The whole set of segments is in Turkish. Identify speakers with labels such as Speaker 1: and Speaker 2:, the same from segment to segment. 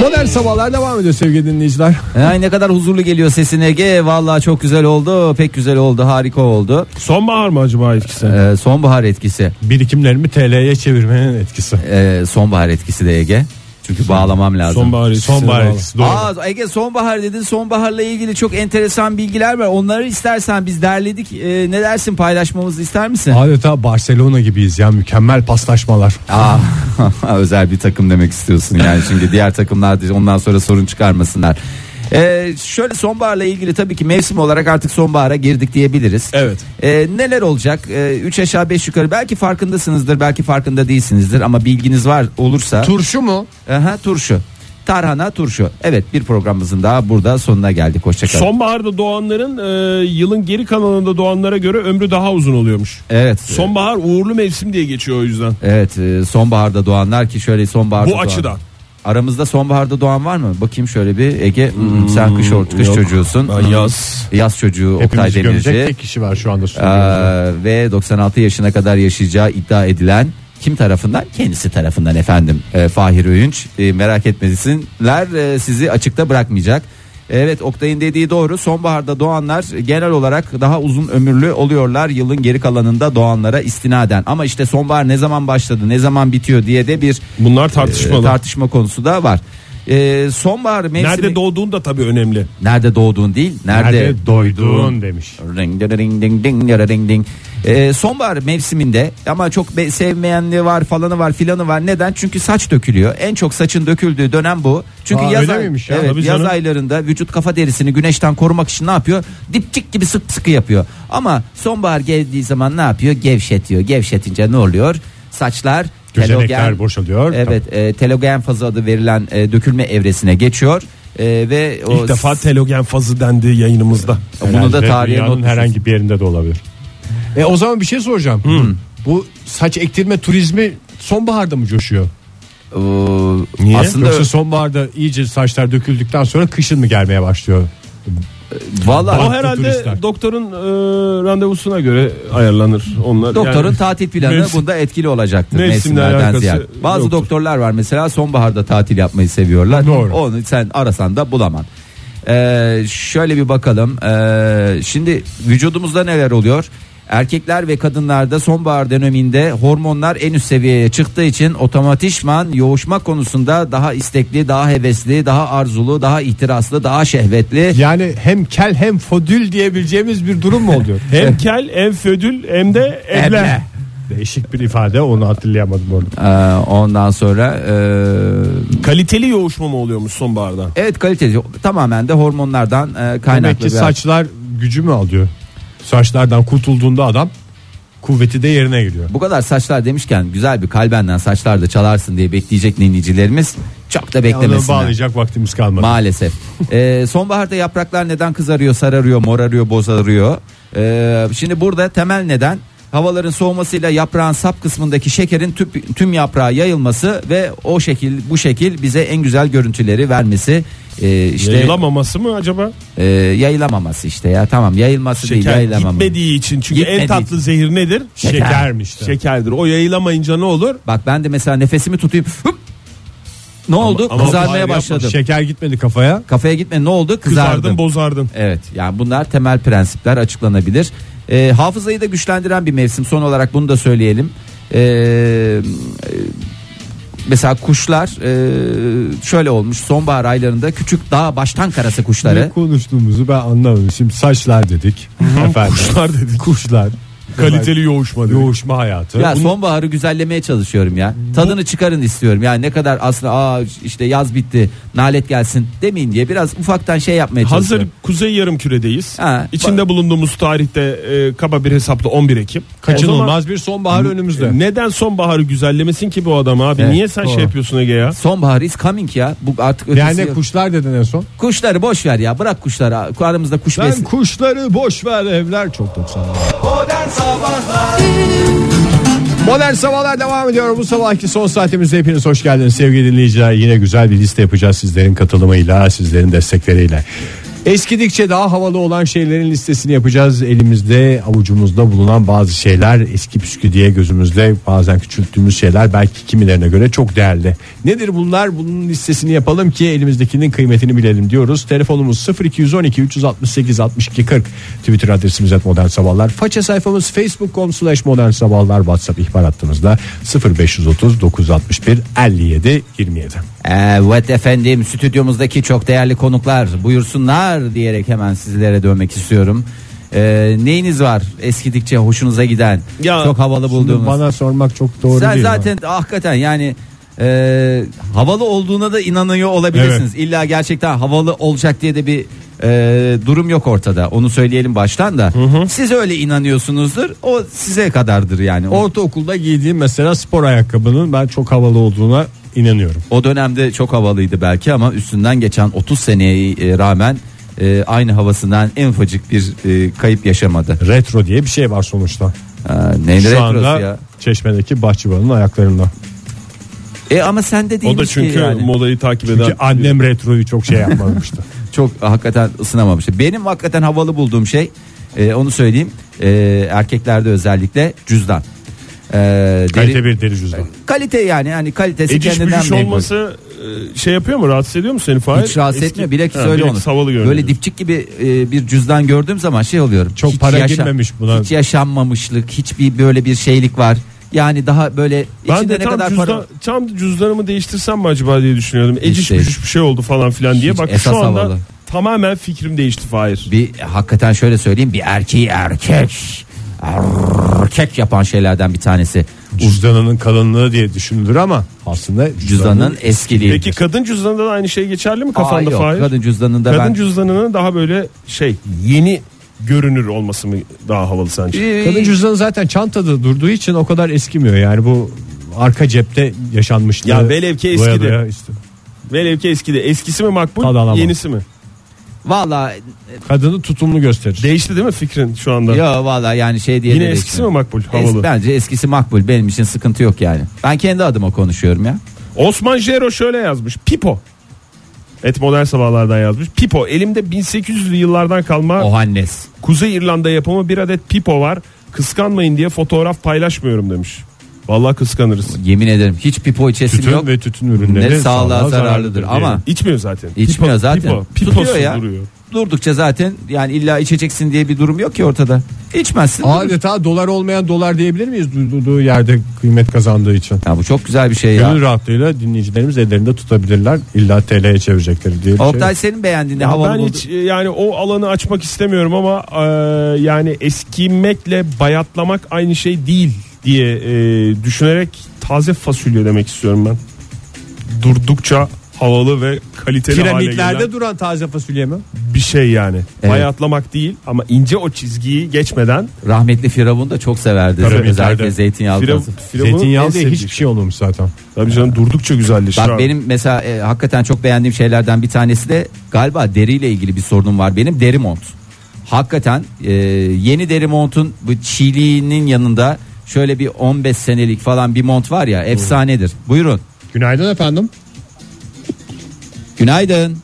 Speaker 1: Modern sabahlar devam ediyor sevgili dinleyiciler.
Speaker 2: Ay ne kadar huzurlu geliyor sesin Ege. Vallahi çok güzel oldu. Pek güzel oldu. Harika oldu.
Speaker 3: Sonbahar mı acaba etkisi?
Speaker 2: Ee, sonbahar etkisi.
Speaker 3: Birikimlerimi TL'ye çevirmenin etkisi.
Speaker 2: Ee, sonbahar etkisi de Ege. Çünkü bağlamam lazım.
Speaker 3: Sonbahar etkisi. Sonbahar
Speaker 1: Doğru.
Speaker 3: etkisi. Doğru.
Speaker 2: Aa, Ege sonbahar dedin. Sonbaharla ilgili çok enteresan bilgiler var. Onları istersen biz derledik. Ee, ne dersin paylaşmamızı ister misin?
Speaker 1: Adeta Barcelona gibiyiz ya mükemmel paslaşmalar.
Speaker 2: Aa, özel bir takım demek istiyorsun yani şimdi diğer takımlar da ondan sonra sorun çıkarmasınlar. Ee, şöyle sonbaharla ilgili tabii ki mevsim olarak artık sonbahara girdik diyebiliriz.
Speaker 3: Evet.
Speaker 2: Ee, neler olacak? 3 aşağı 5 yukarı belki farkındasınızdır belki farkında değilsinizdir ama bilginiz var olursa.
Speaker 1: Turşu mu?
Speaker 2: Aha, turşu. Tarhana turşu. Evet bir programımızın daha burada sonuna geldik. Hoşçakalın.
Speaker 3: Sonbaharda doğanların e, yılın geri kalanında doğanlara göre ömrü daha uzun oluyormuş.
Speaker 2: Evet.
Speaker 3: Sonbahar uğurlu mevsim diye geçiyor o yüzden.
Speaker 2: Evet e, sonbaharda doğanlar ki şöyle sonbaharda
Speaker 3: Bu
Speaker 2: doğan-
Speaker 3: açıdan.
Speaker 2: Aramızda sonbaharda doğan var mı? Bakayım şöyle bir Ege hmm, sen kış or- kış
Speaker 3: yok.
Speaker 2: çocuğusun.
Speaker 3: Ben yaz.
Speaker 2: Yaz çocuğu Oktay
Speaker 1: Hepimizi gömecek
Speaker 2: Demirci.
Speaker 1: tek kişi var şu anda
Speaker 2: Ee,
Speaker 1: stüdyomuzda.
Speaker 2: ve 96 yaşına kadar yaşayacağı iddia edilen kim tarafından? Kendisi tarafından efendim. Ee, Fahir Öğünç Ee, merak etmesinler ee, sizi açıkta bırakmayacak. Evet Oktay'ın dediği doğru. Sonbaharda doğanlar genel olarak daha uzun ömürlü oluyorlar yılın geri kalanında doğanlara istinaden. Ama işte sonbahar ne zaman başladı, ne zaman bitiyor diye de bir
Speaker 3: Bunlar
Speaker 2: e,
Speaker 3: tartışmalı.
Speaker 2: tartışma konusu da var. Ee, sonbahar mevsimi
Speaker 3: Nerede doğduğun da tabii önemli.
Speaker 2: nerede doğduğun değil, nerede,
Speaker 1: Nerede doyduğun demiş.
Speaker 2: Ring ding ding ding ding yara ding ding. Ee, sonbahar mevsiminde ama çok be- sevmeyenli var falanı var filanı var neden çünkü saç dökülüyor en çok saçın döküldüğü dönem bu çünkü
Speaker 1: Aa,
Speaker 2: yaz,
Speaker 1: öyle
Speaker 2: ay-
Speaker 1: miymiş ya?
Speaker 2: evet,
Speaker 3: Tabii
Speaker 2: yaz
Speaker 3: canım.
Speaker 2: aylarında vücut kafa derisini güneşten korumak için ne yapıyor dipçik gibi sık sıkı yapıyor ama sonbahar geldiği zaman ne yapıyor gevşetiyor gevşetince ne oluyor saçlar telogen-
Speaker 1: Gözenekler boşalıyor.
Speaker 2: Evet, e, telogen fazı adı verilen e, dökülme evresine geçiyor E, ve o
Speaker 3: İlk defa telogen fazı dendi yayınımızda.
Speaker 1: Herhalde
Speaker 2: bunu da tarihe not
Speaker 1: dünyanın
Speaker 2: düşün.
Speaker 1: herhangi bir yerinde de olabilir. E o zaman bir şey soracağım. Bu saç ektirme turizmi sonbaharda mı coşuyor?
Speaker 2: Ee,
Speaker 3: Niye?
Speaker 2: aslında
Speaker 1: Yoksa sonbaharda iyice saçlar döküldükten sonra kışın mı gelmeye başlıyor?
Speaker 2: vallahi
Speaker 3: O
Speaker 1: Baktı
Speaker 3: herhalde
Speaker 1: turistler.
Speaker 3: doktorun e, randevusuna göre ayarlanır onlar.
Speaker 2: Doktorun
Speaker 3: Yani-
Speaker 2: tatil planı
Speaker 3: Mevsim-
Speaker 2: bunda etkili olacaktır
Speaker 3: Mevsimle
Speaker 2: mevsimlerden
Speaker 3: alakası
Speaker 2: ziyade. Bazı
Speaker 3: yoktur.
Speaker 2: doktorlar var mesela sonbaharda tatil yapmayı seviyorlar.
Speaker 1: Doğru.
Speaker 2: Onu sen arasan da bulaman. Ee, şöyle bir bakalım. Ee, şimdi vücudumuzda neler oluyor? Erkekler ve kadınlarda sonbahar döneminde hormonlar en üst seviyeye çıktığı için otomatikman yoğuşma konusunda daha istekli, daha hevesli, daha arzulu, daha ihtiraslı, daha şehvetli.
Speaker 1: Yani hem kel hem fodül diyebileceğimiz bir durum mu oluyor?
Speaker 3: Hem kel hem födül hem de eble.
Speaker 2: Eble.
Speaker 1: Değişik bir ifade onu hatırlayamadım orada.
Speaker 2: Ee, ondan sonra ee,
Speaker 3: Kaliteli yoğuşma mı oluyormuş sonbaharda?
Speaker 2: Evet kaliteli tamamen de hormonlardan e,
Speaker 1: Demek
Speaker 2: kaynaklı
Speaker 1: ki
Speaker 2: bir
Speaker 1: saçlar gücü mü alıyor? Saçlardan kurtulduğunda adam kuvveti de yerine geliyor.
Speaker 2: Bu kadar saçlar demişken güzel bir kalbenden saçlar da çalarsın diye bekleyecek dinleyicilerimiz çok da
Speaker 1: Onu
Speaker 2: beklemesinler.
Speaker 1: bağlayacak vaktimiz kalmadı.
Speaker 2: Maalesef. Ee, sonbaharda yapraklar neden kızarıyor, sararıyor, morarıyor, bozarıyor? Ee, şimdi burada temel neden havaların soğumasıyla yaprağın sap kısmındaki şekerin tüp- tüm yaprağa yayılması ve o şekil bu şekil bize en güzel görüntüleri vermesi. Ee, işte
Speaker 3: Yayılamaması mı acaba?
Speaker 2: e, yayılamaması işte ya tamam yayılması değil
Speaker 3: Şeker
Speaker 2: yayılamaması.
Speaker 3: gitmediği için çünkü en
Speaker 2: Gitmediği
Speaker 3: tatlı zehir nedir?
Speaker 1: Şekermiş de.
Speaker 3: Şekerdir. O yayılamayınca ne olur?
Speaker 2: Bak ben de mesela nefesimi tutayım. Hıp! Ne oldu?
Speaker 3: ama
Speaker 2: Kızarmaya
Speaker 3: bari
Speaker 2: başladım.
Speaker 1: Şeker gitmedi kafaya.
Speaker 2: Kafaya gitme ne oldu? Kızardım.
Speaker 3: Kızardın, bozardın.
Speaker 2: Evet yani bunlar temel prensipler açıklanabilir. Ee, hafızayı da güçlendiren bir mevsim. Son olarak bunu da söyleyelim. Ee, e, mesela kuşlar e, şöyle olmuş. Sonbahar aylarında küçük dağ baştan karası
Speaker 1: Ne
Speaker 2: kuşları.
Speaker 1: konuştuğumuzu ben anlamadım. Şimdi saçlar dedik. Efendim. Kuşlar dedik. Kuşlar.
Speaker 3: Kaliteli yoğuşma dedik.
Speaker 1: yoğuşma hayatı.
Speaker 2: Ya sonbaharı güzellemeye çalışıyorum ya. Tadını çıkarın istiyorum. Yani ne kadar aslında aa işte yaz bitti. Nalet gelsin demeyin diye biraz ufaktan şey yapmaya çalışıyorum.
Speaker 3: Hazır Kuzey Yarımküre'deyiz.
Speaker 2: Ha,
Speaker 3: İçinde bulunduğumuz tarihte e, kaba bir hesapla 11 Ekim. O zaman
Speaker 1: Kaçınılmaz bir sonbahar önümüzde.
Speaker 3: E, Neden sonbaharı güzellemesin ki bu adam abi?
Speaker 2: Evet,
Speaker 3: Niye sen
Speaker 1: doğru.
Speaker 3: şey yapıyorsun Ege ya?
Speaker 2: Sonbahar is coming ya. Bu artık ötesi
Speaker 1: Yani
Speaker 2: yok.
Speaker 1: kuşlar dedin en son.
Speaker 2: Kuşları boş ver ya. Bırak kuşları. Aramızda kuş
Speaker 1: Ben
Speaker 2: besin.
Speaker 1: kuşları boş ver evler çok 90'lar. Modern Sabahlar devam ediyor. Bu sabahki son saatimizde hepiniz hoş geldiniz sevgili dinleyiciler. Yine güzel bir liste yapacağız sizlerin katılımıyla, sizlerin destekleriyle. Eskidikçe daha havalı olan şeylerin listesini yapacağız. Elimizde avucumuzda bulunan bazı şeyler eski püskü diye gözümüzle bazen küçülttüğümüz şeyler belki kimilerine göre çok değerli. Nedir bunlar? Bunun listesini yapalım ki elimizdekinin kıymetini bilelim diyoruz. Telefonumuz 0212 368 62 40 Twitter adresimiz et modern sabahlar. Faça sayfamız facebook.com slash modern sabahlar WhatsApp ihbar hattımızda 0530 961 57 27.
Speaker 2: Evet efendim stüdyomuzdaki çok değerli konuklar buyursunlar diyerek hemen sizlere dönmek istiyorum. Ee, neyiniz var eskidikçe hoşunuza giden
Speaker 3: Ya,
Speaker 2: çok havalı bulduğunuz?
Speaker 1: Bana sormak çok doğru
Speaker 2: Sen
Speaker 1: değil. ama.
Speaker 2: zaten hakikaten yani e, havalı olduğuna da inanıyor olabilirsiniz. İlla gerçekten havalı olacak diye de bir e, durum yok ortada. Onu söyleyelim baştan da. Siz öyle inanıyorsunuzdur. O size kadardır yani. O,
Speaker 1: Ortaokulda giydiğim mesela spor ayakkabının ben çok havalı olduğuna inanıyorum.
Speaker 2: o dönemde çok havalıydı belki ama üstünden geçen 30 seneye e, rağmen e, aynı havasından en ufacık bir e, kayıp yaşamadı.
Speaker 1: Retro diye bir şey var sonuçta.
Speaker 2: Ee, neyin
Speaker 1: Şu
Speaker 2: retrosu
Speaker 1: anda
Speaker 2: ya?
Speaker 1: çeşmedeki bahçıvanın ayaklarında.
Speaker 2: E ama sen de
Speaker 3: O da
Speaker 2: değilmiş ki
Speaker 3: çünkü
Speaker 2: yani.
Speaker 3: modayı takip eden.
Speaker 1: Çünkü annem retroyu çok şey yapmamıştı.
Speaker 2: çok e, hakikaten ısınamamıştı. Benim hakikaten havalı bulduğum şey e, onu söyleyeyim e, erkeklerde özellikle cüzdan. E, deri-
Speaker 1: Kalite bir deri cüzdan.
Speaker 2: kalite yani yani kalitesi
Speaker 3: Ediş
Speaker 2: kendinden
Speaker 3: büdüş
Speaker 2: memnun.
Speaker 3: olması e, şey yapıyor mu rahatsız ediyor mu seni Fahir?
Speaker 2: Hiç rahatsız
Speaker 3: Eski-
Speaker 2: etmiyor bilakis
Speaker 3: Ha,
Speaker 2: öyle
Speaker 3: bilakis
Speaker 2: olur.
Speaker 3: havalı görünüyor.
Speaker 2: Böyle dipçik gibi e, bir cüzdan gördüğüm zaman şey oluyorum.
Speaker 1: Çok
Speaker 2: hiç
Speaker 1: para
Speaker 2: yaşa-
Speaker 1: girmemiş buna.
Speaker 2: Hiç yaşanmamışlık, hiçbir böyle bir şeylik var. Yani daha böyle
Speaker 3: Ben
Speaker 2: içinde
Speaker 3: de
Speaker 2: ne
Speaker 3: tam,
Speaker 2: kadar
Speaker 3: cüzdan,
Speaker 2: para
Speaker 3: tam cüzdanımı değiştirsem mi acaba diye düşünüyordum. Eciş
Speaker 2: değil.
Speaker 3: bücüş bir şey oldu falan filan diye.
Speaker 2: Hiç
Speaker 3: Bak
Speaker 2: esas
Speaker 3: şu anda
Speaker 2: havalı.
Speaker 3: tamamen fikrim değişti Fahir.
Speaker 2: bir hakikaten şöyle söyleyeyim bir erkeği erkek erkek yapan şeylerden bir tanesi.
Speaker 1: Cüzdanının kalınlığı diye düşünülür ama aslında
Speaker 2: Cüzdanın eskiliği.
Speaker 3: Peki kadın cüzdanında da aynı şey geçerli mi
Speaker 2: Aa,
Speaker 3: kafanda
Speaker 2: yok.
Speaker 3: Fahir? Kadın,
Speaker 2: Kadın cüzdanında ben
Speaker 3: cüzdanının daha böyle şey yeni görünür olması mı daha havalı sence?
Speaker 2: Ee,
Speaker 1: Kadın cüzdanı zaten çantada durduğu için o kadar eskimiyor yani bu arka cepte yaşanmışlığı.
Speaker 3: Ya velev ki
Speaker 1: doya
Speaker 3: eskidi.
Speaker 1: doya işte.
Speaker 3: Velev ki eskide. Eskisi mi makbul
Speaker 1: Tadı alamam.
Speaker 3: yenisi mi?
Speaker 2: Vallahi
Speaker 1: Kadını tutumlu gösterir.
Speaker 3: Değişti değil mi fikrin şu anda?
Speaker 2: ya vallahi yani şey diye
Speaker 3: Yine
Speaker 2: de
Speaker 3: eskisi
Speaker 2: değişmiyor.
Speaker 3: mi makbul havalı?
Speaker 2: Es- bence eskisi makbul benim için sıkıntı yok yani. Ben kendi adıma konuşuyorum ya.
Speaker 3: Osman Jero şöyle yazmış. Pipo. Et modern sabahlardan yazmış. Pipo elimde 1800'lü yıllardan kalma
Speaker 2: Ohannes.
Speaker 3: Kuzey İrlanda yapımı bir adet pipo var. Kıskanmayın diye fotoğraf paylaşmıyorum demiş. Vallahi kıskanırız.
Speaker 2: Yemin ederim hiç pipo içesim
Speaker 1: Tütün
Speaker 2: yok.
Speaker 1: ve tütün ürünleri
Speaker 2: Ne sağlığa zararlıdır
Speaker 1: diye.
Speaker 2: ama-
Speaker 3: İçmiyor zaten.
Speaker 2: İçmiyor
Speaker 3: Pipo-
Speaker 2: zaten.
Speaker 3: Pipo,
Speaker 2: Tutuyor
Speaker 3: piposu
Speaker 2: ya.
Speaker 3: duruyor.
Speaker 2: Durdukça zaten yani illa içeceksin diye bir durum yok ki ortada. İçmezsin. durursun.
Speaker 1: Adeta dolar olmayan dolar diyebilir miyiz duyduğu yerde kıymet kazandığı için?
Speaker 2: Ya bu çok güzel bir şey ya.
Speaker 1: Gönül rahatlığıyla dinleyicilerimiz ellerinde tutabilirler. İlla TL'ye çevirecekleri diye bir şey.
Speaker 2: Oktay senin beğendiğin ne
Speaker 3: Ya
Speaker 2: havalı
Speaker 3: ben
Speaker 2: buldu-
Speaker 3: hiç e, yani o alanı açmak istemiyorum ama e, yani eskimekle bayatlamak aynı şey değil diye e, düşünerek taze fasulye demek istiyorum ben. Durdukça havalı ve kaliteli hale gelen
Speaker 1: Piramitlerde duran taze fasulye mi?
Speaker 3: bir şey yani.
Speaker 2: Evet.
Speaker 3: Bayatlamak değil ama ince o çizgiyi geçmeden
Speaker 2: Rahmetli Firavun da çok severdi.
Speaker 1: Karamitlerde.
Speaker 2: Özellikle zeytinyağlı.
Speaker 3: Firav-
Speaker 2: olsun.
Speaker 3: Firavun'un en
Speaker 1: Zeytinyağlı diye
Speaker 3: sevdiği
Speaker 1: hiçbir şey olmamış zaten.
Speaker 3: Tabii canım durdukça güzelleşir.
Speaker 2: Bak benim mesela e, hakikaten çok beğendiğim şeylerden bir tanesi de galiba deriyle ilgili bir sorunum var benim deri mont. Hakikaten e, yeni deri montun bu çiğliğinin yanında şöyle bir 15 senelik falan bir mont var ya efsanedir. Buyurun.
Speaker 1: Günaydın efendim.
Speaker 2: Günaydın.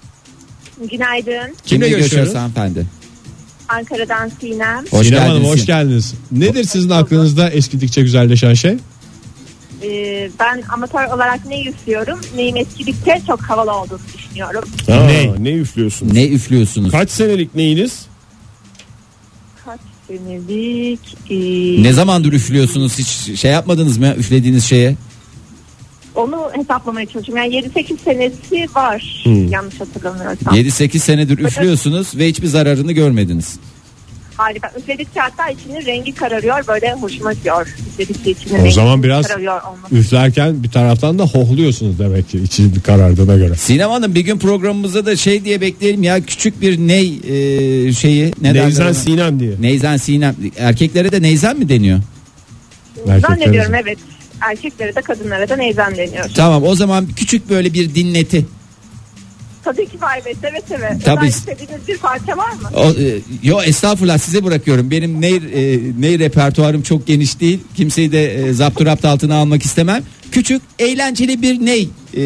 Speaker 4: Günaydın.
Speaker 1: Kimle görüşüyoruz?
Speaker 2: hanımefendi?
Speaker 4: Ankara'dan Sinem.
Speaker 2: Hoş
Speaker 1: Sinem
Speaker 2: geldiniz.
Speaker 1: Hanım hoş geldiniz. Nedir sizin aklınızda eskidikçe güzelleşen şey?
Speaker 4: Ee, ben amatör olarak ne üflüyorum? Neyim eskidikçe çok havalı olduğunu düşünüyorum.
Speaker 3: Aa,
Speaker 1: Ney?
Speaker 3: ne üflüyorsun?
Speaker 2: Ne üflüyorsunuz?
Speaker 3: Kaç senelik neyiniz?
Speaker 4: Kaç senelik? ee,
Speaker 2: Ne zamandır üflüyorsunuz? Hiç şey yapmadınız mı üflediğiniz şeye?
Speaker 4: Onu hesaplamaya çalışıyorum. Yani 7-8 senesi var.
Speaker 1: Hmm.
Speaker 4: Yanlış hatırlamıyorsam.
Speaker 2: 7-8 senedir üflüyorsunuz ve hiçbir zararını görmediniz.
Speaker 4: Harika. Üfledikçe hatta içinin rengi kararıyor. Böyle hoşuma gidiyor. Üfledikçe
Speaker 1: O
Speaker 4: içinin rengi
Speaker 1: zaman biraz
Speaker 4: kararıyor olması.
Speaker 1: üflerken bir taraftan da hohluyorsunuz demek ki içi karardığına göre.
Speaker 2: Sinem Hanım bir gün programımıza da şey diye bekleyelim ya küçük bir ney e, şeyi. Ne derler
Speaker 3: Nevzen
Speaker 2: ona?
Speaker 3: Sinem diye.
Speaker 2: Neyzen Sinem. Erkeklere de neyzen mi deniyor?
Speaker 4: Zannediyorum evet. Erkeklere de kadınlara da neyden deniyor.
Speaker 2: Tamam o zaman küçük böyle bir dinleti.
Speaker 4: Tabii ki var be seve seve.
Speaker 2: Tabii.
Speaker 4: Özel istediğiniz bir parça var mı?
Speaker 2: O, e, yo estağfurullah size bırakıyorum. Benim ney, e, ney repertuarım çok geniş değil. Kimseyi de e, zapturapt altına almak istemem.
Speaker 5: küçük eğlenceli bir ney e,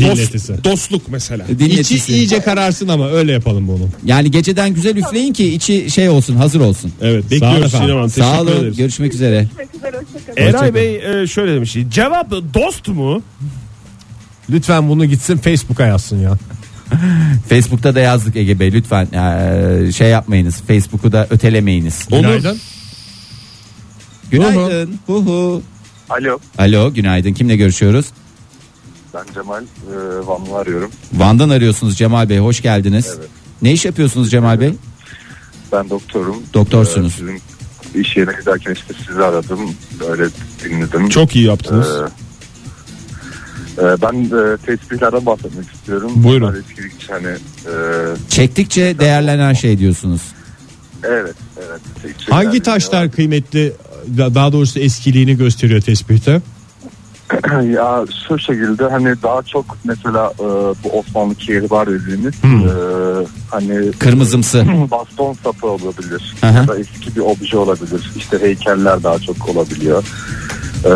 Speaker 1: Dinletisi.
Speaker 3: Dostluk mesela.
Speaker 5: dinletisi.
Speaker 1: İçi iyice kararsın ama öyle yapalım bunu.
Speaker 5: Yani geceden güzel üfleyin ki içi şey olsun hazır olsun.
Speaker 3: Evet
Speaker 1: Sağ olun
Speaker 3: bekliyoruz
Speaker 1: efendim.
Speaker 3: Sinem Hanım. Teşekkür
Speaker 5: Sağ olun
Speaker 3: ederiz.
Speaker 5: görüşmek üzere.
Speaker 4: Çok güzel, hoşçakalın.
Speaker 3: Eray Bey e, şöyle demiş. Cevap dost mu?
Speaker 1: Lütfen bunu gitsin Facebook'a yazsın ya.
Speaker 2: Facebook'ta da yazdık Ege Bey lütfen eee, şey yapmayınız. Facebook'u da ötelemeyiniz.
Speaker 1: Günaydın.
Speaker 2: Günaydın. Hu hu.
Speaker 6: Alo
Speaker 2: Alo günaydın. Kimle görüşüyoruz?
Speaker 6: ben Cemal e, Vanlı arıyorum.
Speaker 2: Van'dan arıyorsunuz Cemal Bey. Hoş geldiniz.
Speaker 6: Evet.
Speaker 2: Ne iş yapıyorsunuz Cemal Bey?
Speaker 6: Ben doktorum.
Speaker 2: Doktorsunuz.
Speaker 6: E, sizin iş yerine giderken işte sizi aradım. Öyle dinledim.
Speaker 3: Çok iyi
Speaker 6: E,
Speaker 3: yaptınız.
Speaker 6: e, ben e, tesbihlerden bahsetmek istiyorum.
Speaker 3: Buyurun.
Speaker 6: Bunlar eskilik için hani e,
Speaker 2: Çektikçe değerlenen şey diyorsunuz.
Speaker 6: evet evet. Tek şeyler
Speaker 1: Hangi taşlar kıymetli daha doğrusu eskiliğini gösteriyor tespihte?
Speaker 6: dinliyorum. ya şu şekilde hani daha çok mesela e, bu Osmanlı kehribar dediğimiz e, hani
Speaker 2: Kırmızımsı.
Speaker 6: baston sapı olabilir.
Speaker 2: Aha.
Speaker 6: Ya da eski bir obje olabilir. İşte heykeller daha çok olabiliyor. Ee,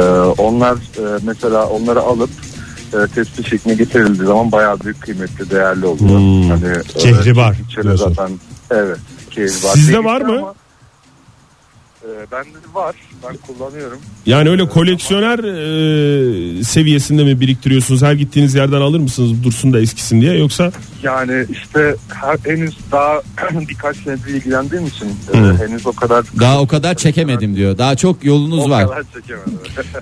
Speaker 6: onlar e, mesela onları alıp e, tespih şekline getirildiği zaman bayağı büyük kıymetli değerli oluyor.
Speaker 1: Hmm.
Speaker 6: Hani, e,
Speaker 1: Kehribar
Speaker 6: içeri
Speaker 1: diyorsun.
Speaker 6: zaten evet. Kehribar.
Speaker 3: Sizde
Speaker 6: Değil
Speaker 3: var mı?
Speaker 6: ama, e, bende var. Ben kullanıyorum.
Speaker 3: Yani öyle koleksiyoner e, seviyesinde mi biriktiriyorsunuz? Her gittiğiniz yerden alır mısınız dursun da eskisin diye yoksa
Speaker 6: Yani işte her, henüz daha birkaç senedir ilgilendiğim için e, henüz o kadar
Speaker 2: Daha o kadar çekemedim diyor. Daha çok yolunuz
Speaker 6: o
Speaker 2: var.
Speaker 6: kadar çekemedim.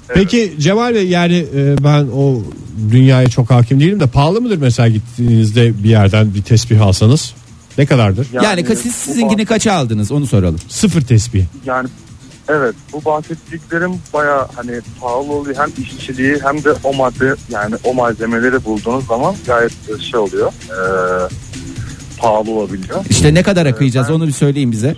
Speaker 1: Peki Cemal Bey yani e, ben o dünyaya çok hakim değilim de pahalı mıdır mesela gittiğinizde bir yerden bir tesbih alsanız? Ne kadardır?
Speaker 2: Yani, siz sizinkini kaça aldınız onu soralım.
Speaker 1: Sıfır tesbih.
Speaker 6: yani evet bu bahsettiklerim baya hani pahalı oluyor hem işçiliği hem de o madde yani o malzemeleri bulduğunuz zaman gayet şey oluyor eee, pahalı olabiliyor.
Speaker 2: İşte ne kadara kıyacağız
Speaker 6: ben-
Speaker 2: onu bir söyleyin bize.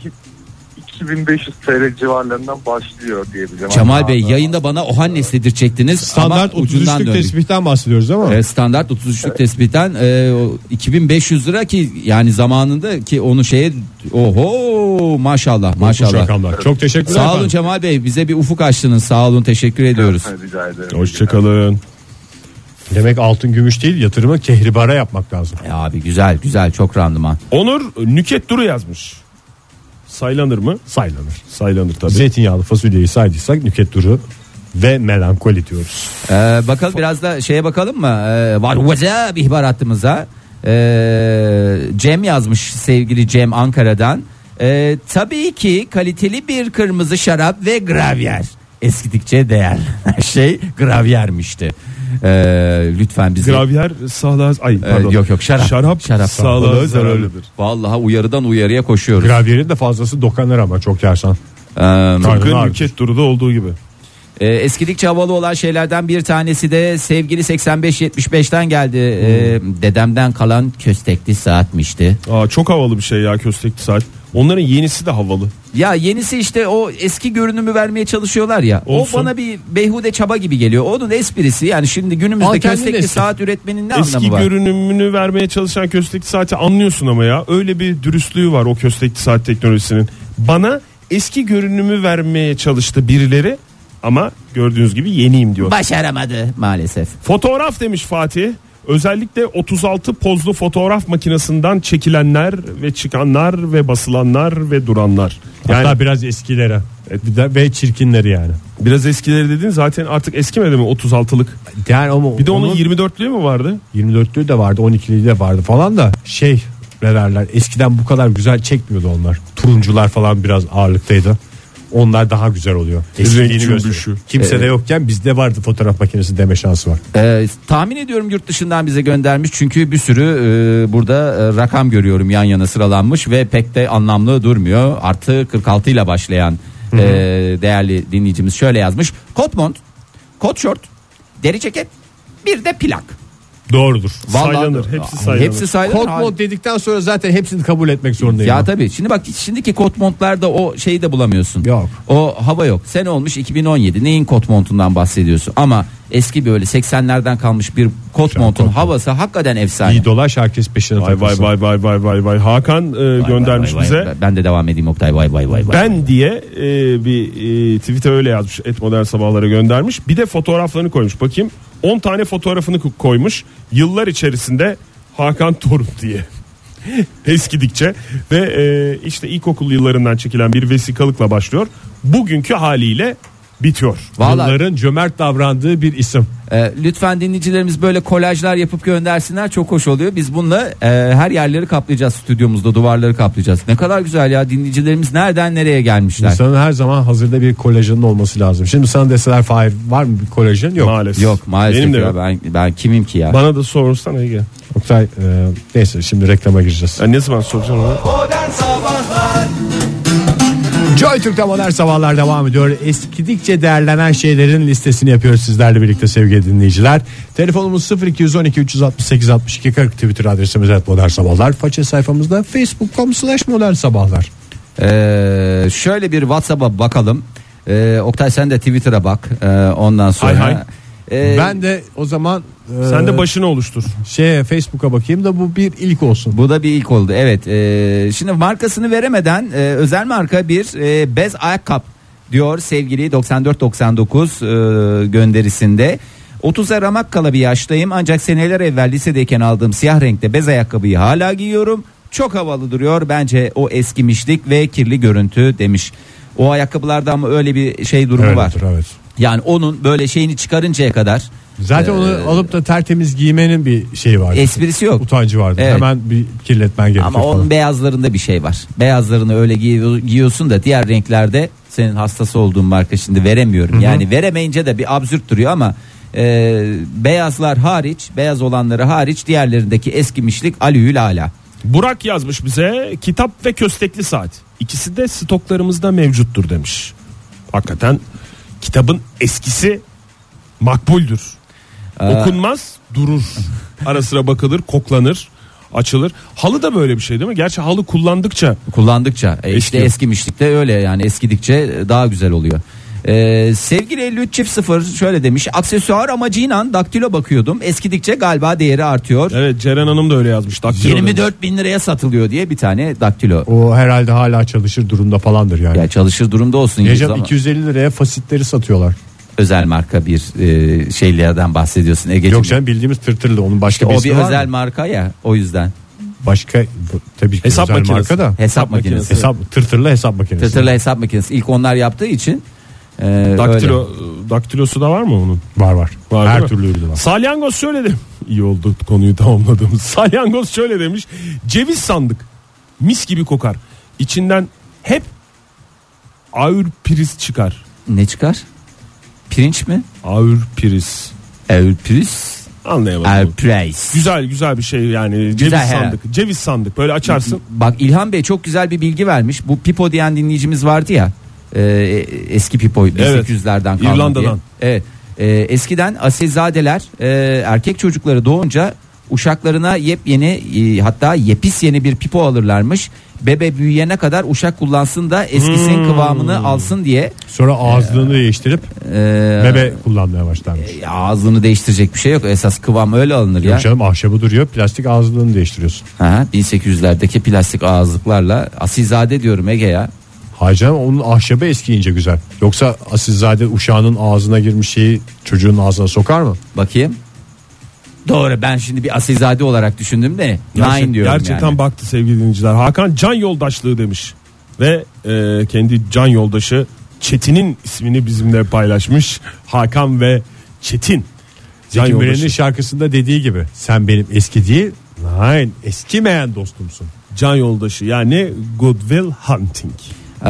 Speaker 6: 2500 TL civarlarından başlıyor diyebilirim. Hani
Speaker 2: Cemal
Speaker 6: Hatta-
Speaker 2: Bey yayında bana Ohannes dedirtecektiniz
Speaker 1: Standart
Speaker 2: ama ucundan
Speaker 1: 33'lük
Speaker 2: döndük.
Speaker 1: tesbihten bahsediyoruz ama.
Speaker 2: E, standart 33'lük tespitten e, o 2500 lira ki yani zamanında ki onu şeye oho maşallah
Speaker 1: Bu
Speaker 2: maşallah.
Speaker 1: rakamlar. Çok teşekkürler.
Speaker 2: Sağ olun
Speaker 1: efendim.
Speaker 2: Cemal Bey bize bir ufuk açtınız sağ olun teşekkür ediyoruz.
Speaker 6: Rica ederim.
Speaker 3: hoşçakalın.
Speaker 1: Demek altın gümüş değil yatırımı kehribara yapmak lazım.
Speaker 2: E, abi güzel güzel çok randıman.
Speaker 3: Onur Nüket Duru yazmış. Saylanır mı?
Speaker 1: Saylanır.
Speaker 3: Saylanır tabii.
Speaker 1: Zeytinyağlı fasulyeyi saydıysak nüket duru ve melankoli diyoruz.
Speaker 2: E, bakalım biraz da şeye bakalım mı? E, var WhatsApp ihbar hattımıza. E, Cem yazmış sevgili Cem Ankara'dan. E, tabii ki kaliteli bir kırmızı şarap ve gravyer. Eskidikçe değer. şey gravyermişti. E, lütfen bizi
Speaker 3: Gravyer sağlığa ay
Speaker 2: Ee,
Speaker 3: pardon.
Speaker 2: yok yok şarap.
Speaker 3: Şarap, sağlığa
Speaker 1: sağlığa
Speaker 3: zararlıdır.
Speaker 2: Vallahi uyarıdan uyarıya koşuyoruz.
Speaker 1: Gravyerin de fazlası dokanır ama çok yersen.
Speaker 2: Ee,
Speaker 1: Karnını
Speaker 3: Tıpkı Nüket Duru'da olduğu gibi.
Speaker 2: e, eskidikçe havalı olan şeylerden bir tanesi de sevgili 85-75'ten geldi. Ee,
Speaker 3: Hmm.
Speaker 2: dedemden kalan köstekli saatmişti.
Speaker 3: Aa, çok havalı bir şey ya köstekli saat. Onların yenisi de havalı.
Speaker 2: Ya yenisi işte o eski görünümü vermeye çalışıyorlar ya.
Speaker 3: Olsun.
Speaker 2: O bana bir beyhude çaba gibi geliyor. Onun esprisi yani şimdi günümüzde
Speaker 1: Al kendin
Speaker 2: köstekli
Speaker 1: eski.
Speaker 2: saat üretmenin ne
Speaker 3: Eski
Speaker 2: anlamı var?
Speaker 3: görünümünü vermeye çalışan köstekli saati anlıyorsun ama ya. Öyle bir dürüstlüğü var o köstekli saat teknolojisinin. Bana eski görünümü vermeye çalıştı birileri ama gördüğünüz gibi yeniyim diyor.
Speaker 2: Başaramadı maalesef.
Speaker 3: Fotoğraf demiş Fatih. Özellikle 36 pozlu fotoğraf makinesinden çekilenler ve çıkanlar ve basılanlar ve duranlar. Yani
Speaker 1: Hatta biraz eskilere Bir de- ve çirkinleri yani.
Speaker 3: biraz eskileri dedin zaten artık eskimedi mi 36'lık?
Speaker 1: Yani ama
Speaker 3: Bir de onun, 24'lüğü mü vardı?
Speaker 1: 24'lü de vardı 12'li de vardı falan da şey ne derler eskiden bu kadar güzel çekmiyordu onlar. Turuncular falan biraz ağırlıktaydı. Onlar daha güzel oluyor. Eskiliğini
Speaker 3: Renk
Speaker 1: gösteriyor.
Speaker 3: cümbüşü.
Speaker 1: Kimse de yokken bizde vardı fotoğraf makinesi deme şansı var.
Speaker 2: Ee, tahmin ediyorum yurt dışından bize göndermiş çünkü bir sürü e, burada e, rakam görüyorum yan yana sıralanmış ve pek de anlamlı durmuyor. Artı 46 ile başlayan e, değerli dinleyicimiz şöyle yazmış. Kot mont, kot şort, deri ceket bir de plak.
Speaker 1: Doğrudur.
Speaker 3: Saylanır, hepsi saylanır.
Speaker 2: Hepsi saylanır.
Speaker 1: Kod mod dedikten sonra zaten hepsini kabul etmek zorundayım.
Speaker 2: Ya tabii. Şimdi bak şimdiki kot montlarda o şeyi de bulamıyorsun.
Speaker 1: Yok.
Speaker 2: O hava yok. Sen olmuş 2017. Neyin kot montundan bahsediyorsun? Ama Eski böyle 80'lerden kalmış bir kot montun havası hakikaten efsane.
Speaker 1: İyi dolaş herkes peşine
Speaker 3: Vay vay
Speaker 1: takılsın.
Speaker 3: vay vay vay vay vay. Hakan e, göndermiş
Speaker 2: Vay vay
Speaker 3: bize.
Speaker 2: vay. Ben de devam edeyim Oktay vay vay vay. vay.
Speaker 3: Ben diye e, bir e, tweet'e öyle yazmış. Et modern sabahlara göndermiş. Bir de fotoğraflarını koymuş. Bakayım 10 tane fotoğrafını ko- koymuş. Yıllar içerisinde Hakan Torun diye. Eskidikçe ve e, işte ilkokul yıllarından çekilen bir vesikalıkla başlıyor. Bugünkü haliyle bitiyor.
Speaker 2: Vallahi-
Speaker 1: Yılların cömert davrandığı bir isim.
Speaker 2: Ee, lütfen dinleyicilerimiz böyle kolajlar yapıp göndersinler çok hoş oluyor. Biz bununla e, her yerleri kaplayacağız stüdyomuzda duvarları kaplayacağız. Ne kadar güzel ya dinleyicilerimiz nereden nereye gelmişler.
Speaker 1: İnsanın her zaman hazırda bir kolajının olması lazım. Şimdi sana deseler Fahir var mı bir kolajın? Yok.
Speaker 3: Maalesef.
Speaker 2: Yok maalesef
Speaker 3: Benim de
Speaker 2: ya
Speaker 3: yok.
Speaker 2: ben, ben kimim ki ya.
Speaker 3: Bana da sorursan Ege.
Speaker 1: Oktay e, neyse şimdi reklama gireceğiz.
Speaker 3: Ya ne zaman soracaksın ona?
Speaker 1: Joy Türk'te modern sabahlar devam ediyor. Eskidikçe değerlenen şeylerin listesini yapıyoruz sizlerle birlikte sevgili dinleyiciler. Telefonumuz 0212 368 62 40 Twitter adresimiz et modern sabahlar. Faça sayfamızda facebook.com slash modern sabahlar.
Speaker 2: Ee, şöyle bir WhatsApp'a bakalım. Ee, Oktay sen de Twitter'a bak. Ee, ondan sonra.
Speaker 3: Hay hay.
Speaker 2: Ee,
Speaker 1: ben de o zaman e,
Speaker 3: Sen de başını oluştur.
Speaker 1: şeye Facebook'a bakayım da bu bir ilk olsun.
Speaker 2: Bu da bir ilk oldu. Evet. e, şimdi markasını veremeden e, özel marka bir e, bez ayakkabı diyor sevgili 9499 e, gönderisinde. 30'a ramak kala bir yaştayım ancak seneler evvel lisedeyken aldığım siyah renkte bez ayakkabıyı hala giyiyorum. Çok havalı duruyor bence o eskimişlik ve kirli görüntü demiş. O ayakkabılarda ama öyle bir şey durumu
Speaker 1: Evet,
Speaker 2: var.
Speaker 1: evet.
Speaker 2: Yani onun böyle şeyini çıkarıncaya kadar
Speaker 1: Zaten
Speaker 2: Ee,
Speaker 1: onu alıp da tertemiz giymenin bir şeyi vardı.
Speaker 2: esprisi yok.
Speaker 1: Utancı vardı.
Speaker 2: Evet.
Speaker 1: Hemen bir kirletmen gerekiyor
Speaker 2: Ama
Speaker 1: falan.
Speaker 2: onun beyazlarında bir şey var. Beyazlarını öyle giyiyor- giyiyorsun da diğer renklerde senin hastası olduğun marka şimdi veremiyorum. Yani veremeyince de bir absürt duruyor ama e, beyazlar hariç, beyaz olanları hariç diğerlerindeki eskimişlik alüyül ala.
Speaker 3: Burak yazmış bize kitap ve köstekli saat. İkisi de stoklarımızda mevcuttur demiş. Hakikaten kitabın eskisi makbuldür. Okunmaz durur. Ara sıra bakılır koklanır açılır. Halı da böyle bir şey değil mi? Gerçi halı kullandıkça
Speaker 2: Kullandıkça e, işte
Speaker 3: Eskiyor.
Speaker 2: eskimişlik de öyle yani eskidikçe daha güzel oluyor. E, sevgili 53 çift sıfır şöyle demiş aksesuar amacıyla daktilo bakıyordum eskidikçe galiba değeri artıyor.
Speaker 3: evet Ceren Hanım da öyle yazmış. Daktilo demiş.
Speaker 2: 24 bin liraya satılıyor diye bir tane daktilo.
Speaker 1: O herhalde hala çalışır durumda falandır yani.
Speaker 2: Ya çalışır durumda olsun. yalnız
Speaker 1: Recep
Speaker 2: ama-
Speaker 1: 250 liraya fasitleri satıyorlar.
Speaker 2: özel marka bir e, şeylerden bahsediyorsun Ege'ciğim.
Speaker 1: Yok canım bildiğimiz tırtırlı onun başka bir
Speaker 2: o
Speaker 1: ismi
Speaker 2: bir
Speaker 1: var
Speaker 2: özel
Speaker 1: mı?
Speaker 2: marka ya o yüzden.
Speaker 1: Başka bu- tabii ki
Speaker 3: Hesap
Speaker 1: özel
Speaker 3: makinesi.
Speaker 1: marka da.
Speaker 2: Hesap, makinesi.
Speaker 3: makinesi.
Speaker 1: Hesap tırtırlı hesap makinesi.
Speaker 2: Tırtırlı hesap makinesi. İlk onlar yaptığı için e,
Speaker 3: Daktilo,
Speaker 2: öyle.
Speaker 3: daktilosu da var mı onun?
Speaker 1: Var var.
Speaker 3: Var
Speaker 1: Her
Speaker 3: değil mi?
Speaker 1: türlü ürünü var.
Speaker 3: Salyangoz şöyle demiş. İyi oldu konuyu tamamladığımız. Salyangoz şöyle demiş. Ceviz sandık. Mis gibi kokar. İçinden hep aürpiriz çıkar.
Speaker 2: Ne çıkar? Pirinç mi?
Speaker 3: Aürpiriz.
Speaker 2: Elpris.
Speaker 3: Anlayamadım.
Speaker 2: Elpris.
Speaker 3: Güzel güzel bir şey yani. Ceviz
Speaker 2: Güzel herhalde.
Speaker 3: sandık. Ceviz sandık. Böyle açarsın.
Speaker 2: Bak İlhan Bey çok güzel bir bilgi vermiş. Bu Pipo diyen dinleyicimiz vardı ya. e, eski Pipo 1800'lerden kalma
Speaker 3: İrlanda'dan.
Speaker 2: diye. Evet. E, eskiden asilzadeler e, erkek çocukları doğunca uşaklarına yepyeni e, hatta yepis yeni bir pipo alırlarmış. Bebe büyüyene kadar uşak kullansın da eskisinin
Speaker 1: Hmm.
Speaker 2: kıvamını alsın diye
Speaker 1: Sonra ağızlığını değiştirip
Speaker 2: e,
Speaker 1: bebe kullanmaya başlarmış.
Speaker 2: e, ağzını değiştirecek bir şey yok. Esas kıvam öyle alınır ya.
Speaker 1: Yok canım ahşabı duruyor plastik ağızlığını değiştiriyorsun.
Speaker 2: Ha, 1800'lerdeki plastik ağızlıklarla asilzade diyorum Ege ya.
Speaker 1: Hayır canım onun ahşabı eskiyince güzel. Yoksa asilzade uşağının ağzına girmiş şeyi çocuğun ağzına sokar mı?
Speaker 2: Bakayım. Doğru ben şimdi bir asilzade olarak düşündüm de nine
Speaker 3: Gerçek-
Speaker 2: diyorum
Speaker 3: gerçekten
Speaker 2: yani.
Speaker 3: baktı sevgili dinleyiciler. Hakan can yoldaşlığı demiş. Ve e, kendi can yoldaşı Çetin'in ismini bizimle paylaşmış. Hakan ve Çetin. Can
Speaker 1: Zeki Müren'in
Speaker 3: yoldaşı.
Speaker 1: şarkısında dediği gibi sen benim eski değil, nein eskimeyen dostumsun.
Speaker 3: Can yoldaşı yani Goodwill Hunting.
Speaker 2: Ee,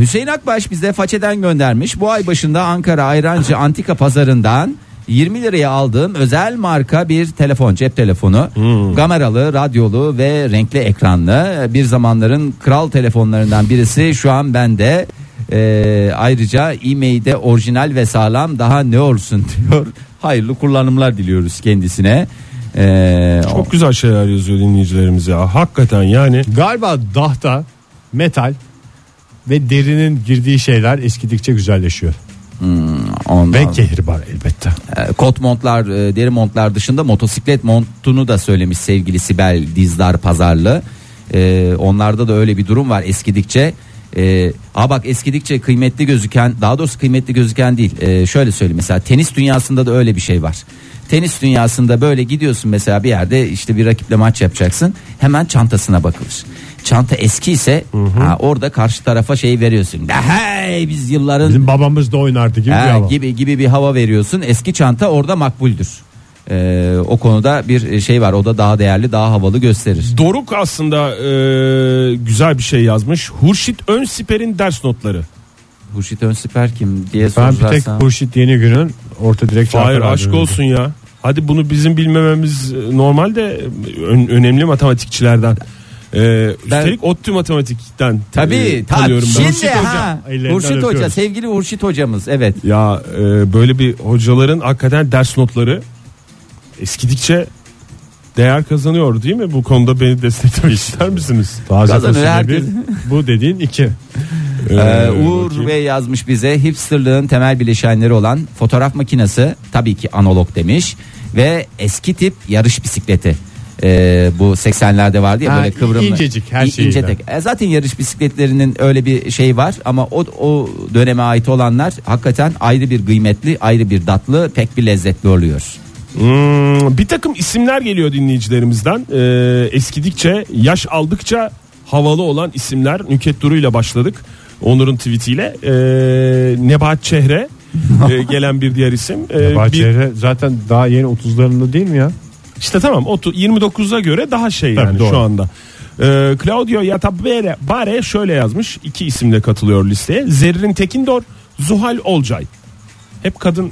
Speaker 2: Hüseyin Akbaş bize façeden göndermiş. Bu ay başında Ankara Ayrancı Antika Pazarı'ndan 20 liraya aldığım özel marka bir telefon cep telefonu.
Speaker 3: Hmm.
Speaker 2: Kameralı, radyolu ve renkli ekranlı. Bir zamanların kral telefonlarından birisi şu an bende. Ee, ayrıca e-mail'de orijinal ve sağlam daha ne olsun diyor. Hayırlı kullanımlar diliyoruz kendisine. Ee, o-
Speaker 3: Çok güzel şeyler yazıyor dinleyicilerimiz
Speaker 1: Ah,
Speaker 3: ya. Hakikaten yani
Speaker 1: Galiba dahta, metal ve derinin girdiği şeyler eskidikçe güzelleşiyor.
Speaker 2: Ondan
Speaker 1: Ve kehribar elbette.
Speaker 2: e, kot montlar, e, deri montlar dışında motosiklet montunu da söylemiş sevgili Sibel Dizdar Pazarlı. E, onlarda da öyle bir durum var eskidikçe. E, ha bak eskidikçe kıymetli gözüken daha doğrusu kıymetli gözüken değil. E, şöyle söyleyeyim mesela tenis dünyasında da öyle bir şey var. Tenis dünyasında böyle gidiyorsun mesela bir yerde işte bir rakiple maç yapacaksın. Hemen çantasına bakılır. Çanta eski ise ha, orada karşı tarafa şey veriyorsun. Hey biz yılların
Speaker 1: Bizim babamız da oynardı gibi bir
Speaker 2: Ha,
Speaker 1: hava.
Speaker 2: gibi gibi bir hava veriyorsun. Eski çanta orada makbuldür. Ee, o konuda bir şey var. O da daha değerli, daha havalı gösterir.
Speaker 3: Doruk aslında e, güzel bir şey yazmış. Hurşit Önsiper'in ders notları.
Speaker 2: Hurşit Önsiper kim diye
Speaker 1: Ben bir tek
Speaker 2: sorarsan.
Speaker 1: Hurşit yeni günün orta direkt
Speaker 3: Hayır
Speaker 1: çarpı
Speaker 3: aşk
Speaker 1: radyonuydu.
Speaker 3: olsun ya. Hadi bunu bizim bilmememiz e, normal de e, ön- önemli matematikçilerden. E, üstelik ODTÜ matematikten
Speaker 2: Tabii.
Speaker 3: e, tanıyorum ben.
Speaker 2: Şimdi ha.
Speaker 1: ellerinden
Speaker 2: Hurşit Hoca,
Speaker 1: öpüyoruz.
Speaker 2: sevgili Hurşit hocamız. Evet.
Speaker 3: Ya e, böyle bir hocaların hakikaten ders notları eskidikçe değer kazanıyor değil mi? Bu konuda beni desteklemek ister misiniz?
Speaker 1: Taze
Speaker 2: Kazanır
Speaker 1: fasulye
Speaker 2: herkes.
Speaker 1: bir, bu dediğin iki.
Speaker 3: Ee,
Speaker 2: Ee, Uğur Bey yazmış bize hipsterlığın temel bileşenleri olan fotoğraf makinesi tabii ki analog demiş ve eski tip yarış bisikleti. Ee, bu 80'lerde vardı ya
Speaker 1: Ha,
Speaker 2: böyle kıvrımlı.
Speaker 1: incecik, her
Speaker 2: İ-
Speaker 1: şeyiyle.
Speaker 2: ince tek. E, zaten yarış bisikletlerinin öyle bir şey var ama o, o döneme ait olanlar hakikaten ayrı bir kıymetli ayrı bir tatlı pek bir lezzetli oluyor.
Speaker 3: Hmm, bir takım isimler geliyor dinleyicilerimizden. Ee, eskidikçe, yaş aldıkça havalı olan isimler. Nüket Duru ile başladık. Onur'un tweetiyle. Ee, Nebahat Çehre e, gelen bir diğer isim. Ee, bir-
Speaker 1: Bahçeli zaten daha yeni 30'larında değil mi ya?
Speaker 3: işte tamam otu- 29'a göre daha şey yani
Speaker 1: Tabii, doğru.
Speaker 3: şu anda. Ee, Claudio Yatabere Bare şöyle yazmış. iki isimle katılıyor listeye. Zerrin Tekindor, Zuhal Olcay. Hep kadın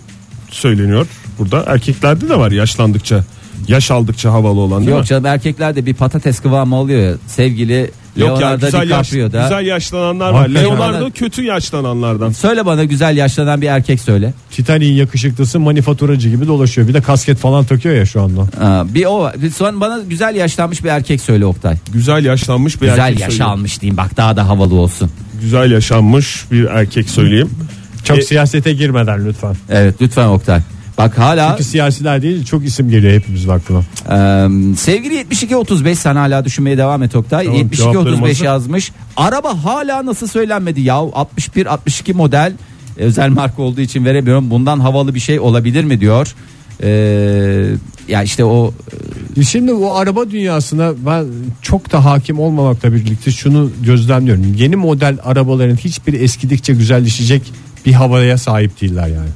Speaker 3: söyleniyor burada. Erkeklerde de var yaşlandıkça. Yaş aldıkça havalı olan değil
Speaker 2: Yok
Speaker 3: mi?
Speaker 2: canım erkeklerde bir patates kıvamı oluyor ya sevgili
Speaker 3: Yok ya
Speaker 2: Leonardo
Speaker 3: güzel, yaş-
Speaker 2: DiCaprio da.
Speaker 3: güzel yaşlananlar var.
Speaker 1: Hakikaten.
Speaker 3: Leonardo kötü yaşlananlardan.
Speaker 2: Söyle bana güzel yaşlanan bir erkek söyle.
Speaker 1: Titanik'in yakışıklısı manifaturacı gibi dolaşıyor. Bir de kasket falan takıyor ya şu anda.
Speaker 2: Aa, Ee, bir o var. Bir son bana güzel yaşlanmış bir erkek söyle Oktay.
Speaker 3: Güzel yaşlanmış bir
Speaker 2: güzel
Speaker 3: erkek
Speaker 2: yaşa
Speaker 3: söyleyeyim.
Speaker 2: almış diyeyim bak daha da havalı olsun.
Speaker 3: Güzel yaşanmış bir erkek söyleyeyim.
Speaker 1: Çok
Speaker 3: E-
Speaker 1: siyasete girmeden lütfen.
Speaker 2: Evet lütfen Oktay. Bak hala
Speaker 1: Çünkü siyasiler değil çok isim geliyor hepimiz aklına.
Speaker 2: e, sevgili 7235 sen hala düşünmeye devam et Oktay.
Speaker 1: Tamam,
Speaker 2: 7235
Speaker 1: cevaplarım
Speaker 2: yazmış. Araba hala nasıl söylenmedi ya 61 62 model e, özel marka olduğu için veremiyorum. Bundan havalı bir şey olabilir mi diyor. E, ya işte o
Speaker 1: Şimdi bu araba dünyasına ben çok da hakim olmamakla birlikte şunu gözlemliyorum. Yeni model arabaların hiçbiri eskidikçe güzelleşecek bir havaya sahip değiller yani.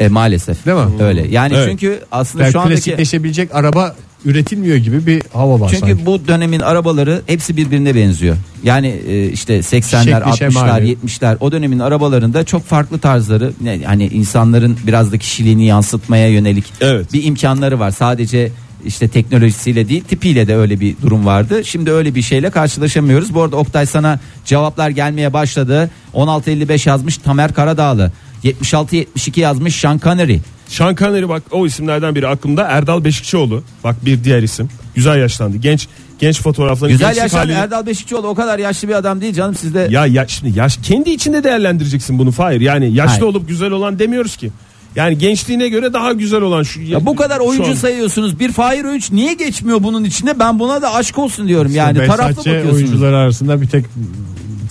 Speaker 2: e, maalesef.
Speaker 1: Değil mi?
Speaker 2: Öyle. Yani
Speaker 1: Evet.
Speaker 2: çünkü aslında
Speaker 1: Yani
Speaker 2: şu andaki
Speaker 1: klasikleşebilecek araba üretilmiyor gibi bir hava var
Speaker 2: Çünkü
Speaker 1: sanki.
Speaker 2: bu dönemin arabaları hepsi birbirine benziyor. Yani e, işte 80'ler,
Speaker 1: Şekli,
Speaker 2: 60'lar,
Speaker 1: şemali.
Speaker 2: 70'ler o dönemin arabalarında çok farklı tarzları ne- hani insanların biraz da kişiliğini yansıtmaya yönelik
Speaker 3: Evet.
Speaker 2: bir imkanları var. Sadece işte teknolojisiyle değil tipiyle de öyle bir durum vardı. Şimdi öyle bir şeyle karşılaşamıyoruz. Bu arada Oktay sana cevaplar gelmeye başladı. 1655 yazmış Tamer Karadağlı. 76-72 yazmış Sean Connery.
Speaker 3: Sean Connery bak o isimlerden biri aklımda Erdal Beşikçioğlu. Bak bir diğer isim. Güzel yaşlandı. Genç genç fotoğraflarını
Speaker 2: Güzel
Speaker 3: gençlik
Speaker 2: yaşlı
Speaker 3: halini-
Speaker 2: Erdal Beşikçioğlu o kadar yaşlı bir adam değil canım sizde.
Speaker 3: Ya, ya şimdi yaş kendi içinde değerlendireceksin bunu Fahir. Yani yaşlı
Speaker 2: Hayır.
Speaker 3: olup güzel olan demiyoruz ki. Yani gençliğine göre daha güzel olan şu
Speaker 2: Ya bu kadar
Speaker 3: şu
Speaker 2: oyuncu
Speaker 3: an-
Speaker 2: sayıyorsunuz. Bir Fahir Öğünç niye geçmiyor bunun içinde? Ben buna da aşk olsun diyorum. Yani taraflı
Speaker 1: Versace
Speaker 2: bakıyorsunuz.
Speaker 1: oyuncular arasında bir tek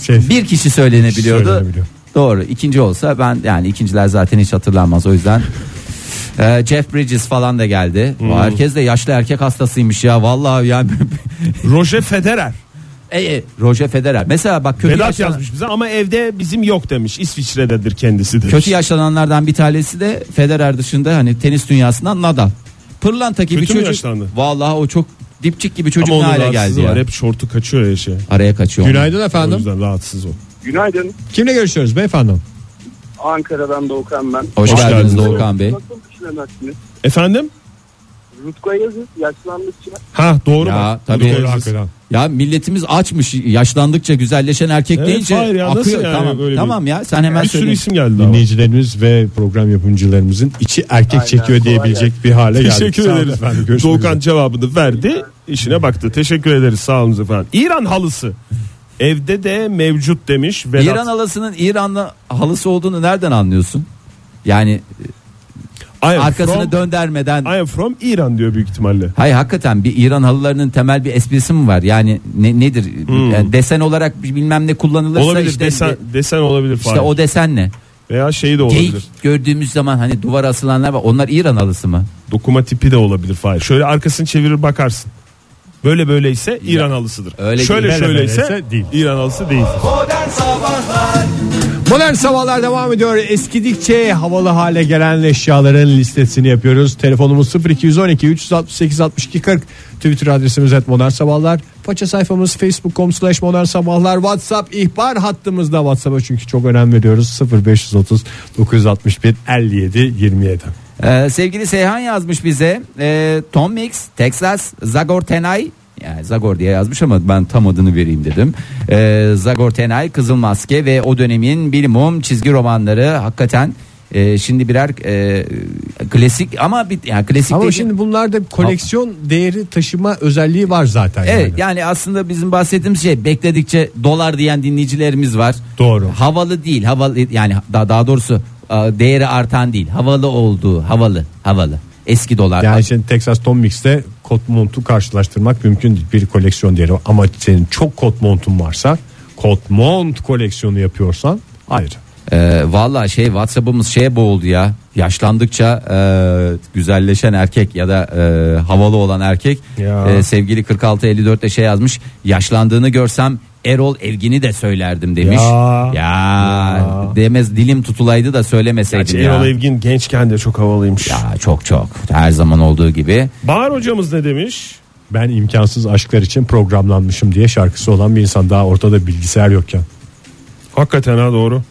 Speaker 1: şey
Speaker 2: Bir kişi söylenebiliyordu.
Speaker 1: Söylenebiliyor.
Speaker 2: Doğru. ikinci olsa ben yani ikinciler zaten hiç hatırlanmaz o yüzden. Ee, Jeff Bridges falan da geldi.
Speaker 3: Hmm.
Speaker 2: Herkes de yaşlı erkek hastasıymış ya. Vallahi yani.
Speaker 3: Roger Federer.
Speaker 2: e, e, Roger Federer. Mesela bak kötü
Speaker 3: Vedat
Speaker 2: yaşlanan-
Speaker 3: yazmış bize ama evde bizim yok demiş. İsviçre'dedir kendisi demiş.
Speaker 2: kötü yaşlananlardan bir tanesi de Federer dışında hani tenis dünyasından Nadal. Pırlanta gibi
Speaker 3: Kötü mü
Speaker 2: çocuk.
Speaker 3: yaşlandı?
Speaker 2: Vallahi o çok dipçik gibi çocuk
Speaker 3: ama
Speaker 2: ne
Speaker 3: onun
Speaker 2: hale
Speaker 3: rahatsızlığı
Speaker 2: geldi
Speaker 3: var.
Speaker 2: ya.
Speaker 3: Hep şortu kaçıyor ya şey.
Speaker 2: Araya kaçıyor.
Speaker 1: Günaydın
Speaker 3: O
Speaker 1: efendim.
Speaker 3: yüzden rahatsız o.
Speaker 6: Günaydın.
Speaker 1: Kimle görüşüyoruz beyefendi?
Speaker 6: Ankara'dan Doğukan ben.
Speaker 2: Hoş,
Speaker 3: Hoş
Speaker 2: geldiniz
Speaker 3: geldiniz.
Speaker 2: Doğukan Bey.
Speaker 6: Nasıl şey düşünemezsiniz?
Speaker 3: Efendim?
Speaker 6: Rutku Ayaz'ın yaşlandıkça
Speaker 3: Ha doğru
Speaker 2: Ya,
Speaker 3: bak.
Speaker 2: tabii.
Speaker 3: Doğru, hakikaten.
Speaker 1: Hakikaten.
Speaker 2: Ya milletimiz açmış yaşlandıkça güzelleşen erkek
Speaker 3: Evet,
Speaker 2: deyince
Speaker 3: hayır ya, nasıl
Speaker 2: akıyor.
Speaker 3: yani
Speaker 2: tamam
Speaker 3: böyle bir-
Speaker 2: tamam ya sen hemen
Speaker 3: Bir sürü
Speaker 2: söyle.
Speaker 3: isim geldi. ama.
Speaker 1: Dinleyicilerimiz ve program yapımcılarımızın içi erkek
Speaker 6: Aynen,
Speaker 1: çekiyor
Speaker 6: kolay
Speaker 1: diyebilecek bir hale geldi.
Speaker 3: Teşekkür ederiz. Doğukan cevabını verdi. işine baktı. Teşekkür ederiz. Sağ olun efendim. İran halısı. Evde de mevcut demiş. Vedat.
Speaker 2: İran halısının İran'la halısı olduğunu nereden anlıyorsun? Yani
Speaker 3: I am
Speaker 2: arkasını
Speaker 3: from,
Speaker 2: döndermeden
Speaker 3: I am from İran diyor büyük ihtimalle.
Speaker 2: Hayır hakikaten bir İran halılarının temel bir esprisi mi var? Yani ne, nedir? Yani desen olarak bir bilmem ne kullanılırsa
Speaker 3: Hmm. Olabilir
Speaker 2: işte,
Speaker 3: desen, desen olabilir
Speaker 2: işte
Speaker 3: Fahir.
Speaker 2: o desen ne?
Speaker 3: Veya şey de olabilir.
Speaker 2: Geyik gördüğümüz zaman hani duvara asılanlar var. Onlar İran halısı mı?
Speaker 3: Dokuma tipi de olabilir Fahir. Şöyle arkasını çevirir bakarsın. Böyle böyleyse İran halısıdır.
Speaker 2: Öyle
Speaker 3: şöyle
Speaker 2: değil.
Speaker 3: şöyleyse
Speaker 1: Böyleyse değil.
Speaker 3: İran halısı değil.
Speaker 1: Modern Sabahlar devam ediyor. Eskidikçe havalı hale gelen eşyaların listesini yapıyoruz. Telefonumuz 0212 368 62 40. Twitter adresimiz et Modern Sabahlar. Paça sayfamız facebook.com slash Modern Sabahlar. Whatsapp ihbar hattımızda Whatsapp'a çünkü çok önem veriyoruz. 0530 961 57 27.
Speaker 2: Ee, sevgili Seyhan yazmış bize. Ee, Tom Mix, Texas, Zagor Tenay. Yani Zagor diye yazmış ama ben tam adını vereyim dedim. Ee, Zagor Tenay, Kızıl Maske ve o dönemin bilimum çizgi romanları hakikaten e, şimdi birer e, klasik ama bir yani klasik
Speaker 1: Ama
Speaker 2: değil-
Speaker 1: şimdi bunlarda bir koleksiyon değeri taşıma özelliği var zaten.
Speaker 2: Evet
Speaker 1: yani.
Speaker 2: yani aslında bizim bahsettiğimiz şey bekledikçe dolar diyen dinleyicilerimiz var.
Speaker 1: Doğru.
Speaker 2: Havalı değil havalı yani daha, daha doğrusu e, değeri artan değil havalı olduğu havalı havalı eski dolar.
Speaker 1: Yani şimdi Texas Tom Mix'te kot montu karşılaştırmak mümkün değil. Bir koleksiyon değeri var. ama senin çok kot montun varsa kot mont koleksiyonu yapıyorsan ayrı.
Speaker 2: E, Valla şey WhatsApp'ımız şeye boğuldu ya. Yaşlandıkça e, güzelleşen erkek ya da e, havalı olan erkek
Speaker 1: Ya.
Speaker 2: e, sevgili 4654'te şey yazmış. Yaşlandığını görsem Erol Evgin'i de söylerdim demiş.
Speaker 1: Ya.
Speaker 2: Ya, demez dilim tutulaydı da söylemeseydim
Speaker 3: Gerçi
Speaker 2: Şey ya.
Speaker 3: Erol Evgin gençken de çok havalıymış.
Speaker 2: Ya çok çok her zaman olduğu gibi.
Speaker 3: Bahar hocamız ne demiş?
Speaker 1: Ben imkansız aşklar için programlanmışım diye şarkısı olan bir insan daha ortada bilgisayar yokken.
Speaker 3: Hakikaten ha doğru.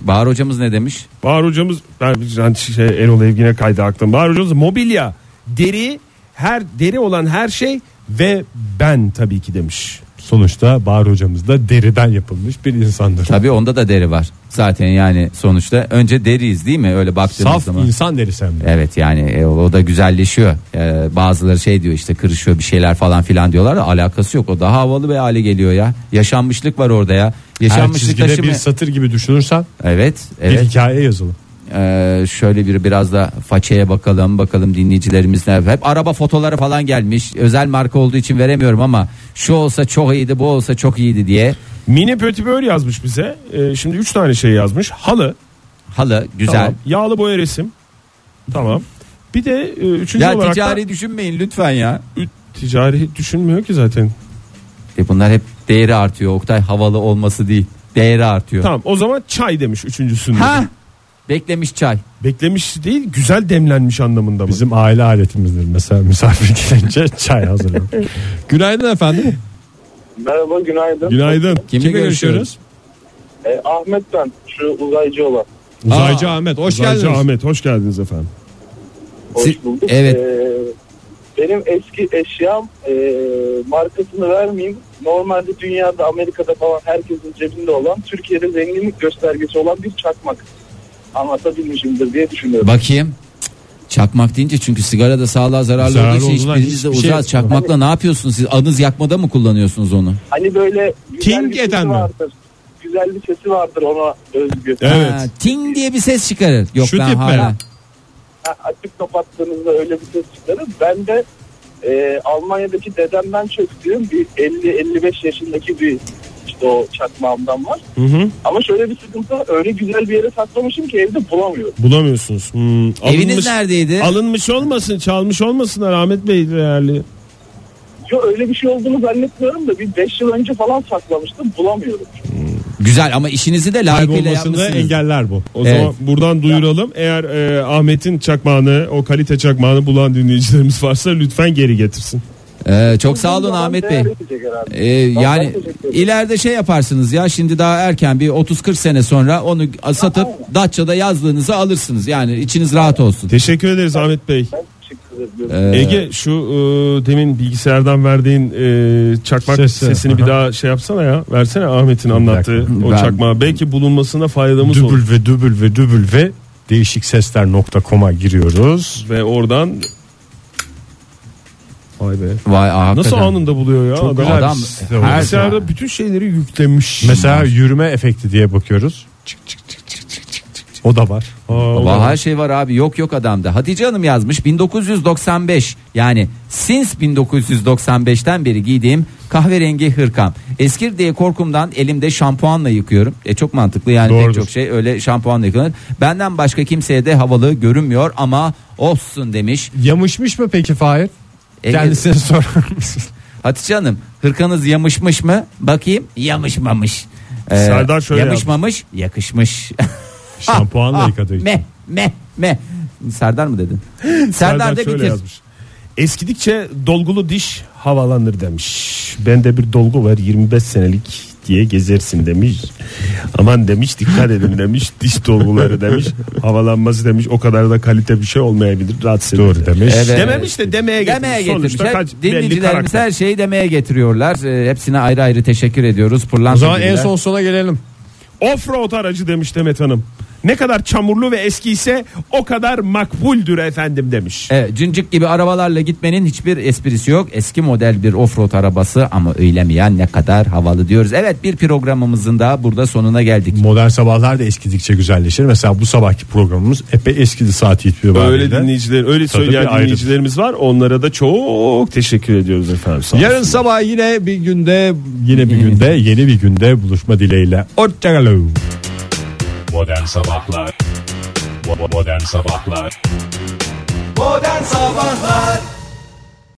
Speaker 2: Bahar hocamız ne demiş?
Speaker 3: Bahar hocamız ben ben şey, Erol Evgin'e kaydı aklım. Bahar hocamız mobilya, deri, her deri olan her şey ve ben tabii ki demiş.
Speaker 1: Sonuçta Bahar hocamız da deriden yapılmış bir insandır.
Speaker 2: Tabii onda da deri var. Zaten yani sonuçta önce deriyiz değil mi? Öyle baktığımız
Speaker 1: Saf
Speaker 2: zaman.
Speaker 1: insan derisi hem de.
Speaker 2: Evet yani e, o da güzelleşiyor. E, bazıları şey diyor işte kırışıyor bir şeyler falan filan diyorlar da alakası yok. O daha havalı bir hale geliyor ya. Yaşanmışlık var orada ya.
Speaker 1: Her
Speaker 2: Yaşanmışlık
Speaker 1: çizgide
Speaker 2: taşımı.
Speaker 1: bir satır gibi düşünürsen
Speaker 2: Evet,
Speaker 1: bir
Speaker 2: evet.
Speaker 1: hikaye yazılı.
Speaker 2: E, şöyle bir biraz da façeye bakalım. Bakalım dinleyicilerimiz ne hep araba fotoları falan gelmiş. Özel marka olduğu için veremiyorum ama şu olsa çok iyiydi, bu olsa çok iyiydi diye.
Speaker 3: Mini Pötibör yazmış bize. Ee, şimdi 3 tane şey yazmış. Halı,
Speaker 2: Halı güzel.
Speaker 3: tamam. Yağlı boya resim. Tamam. Bir de e, üçüncü
Speaker 2: Ya
Speaker 3: olarak
Speaker 2: ticari
Speaker 3: da
Speaker 2: düşünmeyin lütfen ya.
Speaker 3: Ü- ticari düşünmüyor ki zaten.
Speaker 2: E bunlar hep değeri artıyor. Oktay havalı olması değil. Değeri artıyor.
Speaker 3: Tamam o zaman çay demiş üçüncüsünde.
Speaker 2: Ha? Beklemiş çay.
Speaker 3: Beklemiş değil güzel demlenmiş anlamında mı?
Speaker 1: Bizim aile aletimizdir mesela misafir gelince çay hazırlanır. Günaydın efendim.
Speaker 6: Merhaba günaydın.
Speaker 1: Günaydın.
Speaker 2: Kimle görüşüyoruz?
Speaker 6: E, Ahmet ben şu uzaycı olan.
Speaker 1: Uzaycı Ahmet hoş
Speaker 3: Uzaycı
Speaker 1: geldiniz.
Speaker 3: Ahmet hoş geldiniz efendim.
Speaker 6: Hoş
Speaker 2: Siz-
Speaker 6: bulduk.
Speaker 2: evet.
Speaker 6: Ee, benim eski eşyam e, markasını vermeyeyim. Normalde dünyada Amerika'da falan herkesin cebinde olan Türkiye'de zenginlik göstergesi olan bir çakmak. Anlatabilmişimdir diye düşünüyorum.
Speaker 2: Bakayım. Cık, Çakmak deyince çünkü sigara da sağlığa zararlı
Speaker 1: Zararlı
Speaker 2: olduğu için
Speaker 1: olduğundan
Speaker 2: hiçbiriniz de
Speaker 1: hiçbir şey
Speaker 2: uzağız. Çakmakla ne yapıyorsunuz siz? Anız yakmada mı kullanıyorsunuz onu?
Speaker 6: Hani böyle güzel
Speaker 1: Ting
Speaker 6: bir sesi
Speaker 1: eden mi?
Speaker 6: vardır. Güzel bir sesi vardır ona özgü.
Speaker 1: Evet.
Speaker 2: Ha, ting diye bir ses çıkarır. Yok
Speaker 1: Şu
Speaker 2: ben
Speaker 1: tip
Speaker 2: hala.
Speaker 1: mi?
Speaker 6: Ha, açıp kapattığınızda öyle bir ses çıkarır. Ben de e, Almanya'daki dedemden çöktüğüm bir 50-55 yaşındaki bir işte o çakmağımdan var.
Speaker 3: Hı hı.
Speaker 6: Ama şöyle bir sıkıntı var. Öyle güzel bir yere saklamışım ki evde bulamıyorum.
Speaker 3: Bulamıyorsunuz. Hmm,
Speaker 2: Eviniz neredeydi?
Speaker 3: Alınmış olmasın, çalmış olmasınlar Ahmet Bey değerli.
Speaker 6: Yo, öyle bir şey olduğunu zannetmiyorum da bir 5 yıl önce falan saklamıştım. Bulamıyorum.
Speaker 2: Güzel ama işinizi de layıkıyla
Speaker 1: Kaybolmasını
Speaker 2: yapmışsınız.
Speaker 1: engeller bu.
Speaker 3: O
Speaker 2: Evet.
Speaker 3: zaman buradan duyuralım. Eğer e, Ahmet'in çakmağını, o kalite çakmağını bulan dinleyicilerimiz varsa lütfen geri getirsin.
Speaker 2: Ee, çok sağ olun Ahmet Bey.
Speaker 6: şey
Speaker 2: Ee, yani ileride şey yaparsınız ya şimdi daha erken bir 30-40 sene sonra onu satıp Datça'da yazlığınızı alırsınız. Yani içiniz rahat olsun.
Speaker 3: Teşekkür ederiz Ahmet Bey.
Speaker 2: Ee,
Speaker 3: Ege şu e, demin bilgisayardan verdiğin e, çakmak
Speaker 1: Sesi.
Speaker 3: sesini bir
Speaker 1: Aha.
Speaker 3: daha şey yapsana ya. Versene Ahmet'in anlattığı
Speaker 2: dakika.
Speaker 3: o
Speaker 2: Ben-
Speaker 3: çakmağı. Belki bulunmasına faydamız olur.
Speaker 1: Dübül ve dübül ve dübül ve değişiksesler.com'a giriyoruz.
Speaker 3: Ve oradan Vay be.
Speaker 2: Vay aa,
Speaker 3: Nasıl
Speaker 2: hakikaten.
Speaker 3: anında buluyor ya? adam?
Speaker 1: güzel bir
Speaker 2: Adam
Speaker 1: site oldu.
Speaker 2: her şey-
Speaker 3: Bilgisayarda bütün şeyleri yüklemiş.
Speaker 1: Mesela yürüme efekti diye bakıyoruz. Çık çık çık çık çık çık çık. çık. O da var.
Speaker 3: Aa,
Speaker 2: Valla her şey var abi yok yok adamda. Hatice Hanım yazmış 1995 yani since 1995'ten beri giydiğim kahverengi hırkam. Eskir diye korkumdan elimde şampuanla yıkıyorum. E çok mantıklı yani
Speaker 3: Doğrudur.
Speaker 2: pek çok şey öyle şampuanla yıkanır. Benden başka kimseye de havalı görünmüyor ama olsun demiş.
Speaker 1: Yamışmış mı peki Fahir?
Speaker 2: E,
Speaker 1: Kendisine sorar mısın?
Speaker 2: Hatice Hanım hırkanız yamışmış mı? Bakayım yamışmamış. Ee,
Speaker 3: Serdar şöyle
Speaker 2: Yamışmamış yakışmış.
Speaker 1: Şampuanla
Speaker 2: Ah,
Speaker 1: yıkadığı için.
Speaker 2: Meh meh meh. Serdar mı dedin? Serdar,
Speaker 3: Serdar
Speaker 2: da
Speaker 3: şöyle
Speaker 2: bitir.
Speaker 3: yazmış. Eskidikçe dolgulu diş havalanır demiş. Bende bir dolgu var 25 senelik diye gezersin demiş. Aman demiş dikkat edin demiş. Diş dolguları demiş. Havalanması demiş. O kadar da kalite bir şey olmayabilir. Rahatsız edici.
Speaker 1: Doğru demiş.
Speaker 2: Evet.
Speaker 3: Dememiş de demeye getirmiş.
Speaker 2: Demeye
Speaker 3: Sonuçta kaç
Speaker 2: getirmişler.
Speaker 3: belli
Speaker 2: Dinleyicilerimiz
Speaker 3: karakter.
Speaker 2: her şeyi demeye getiriyorlar. Ee, hepsine ayrı ayrı teşekkür ediyoruz. Pırlanta
Speaker 1: O zaman en
Speaker 2: gibiler.
Speaker 1: son sona gelelim.
Speaker 3: Offroad aracı demiş Demet Hanım. Ne kadar çamurlu ve eski ise o kadar makbuldür efendim demiş.
Speaker 2: Evet, Ee, cıncık gibi arabalarla gitmenin hiçbir esprisi yok. Eski model bir offroad arabası ama öyle mi ya ne kadar havalı diyoruz. Evet bir programımızın daha burada sonuna geldik.
Speaker 1: Modern sabahlar da eskidikçe güzelleşir. Mesela bu sabahki programımız epey eskidi saat itibariyle.
Speaker 3: Öyle dinleyiciler, öyle
Speaker 1: Tabii
Speaker 3: söyleyen
Speaker 1: bir ayrı.
Speaker 3: dinleyicilerimiz var. Onlara da çok teşekkür ediyoruz efendim. Sağ olun.
Speaker 1: Yarın sabah yine bir günde yine E, bir günde yeni bir günde buluşma dileğiyle. Hoşçakalın.
Speaker 7: Modern Sabahlar Bo- Modern Sabahlar
Speaker 8: Modern Sabahlar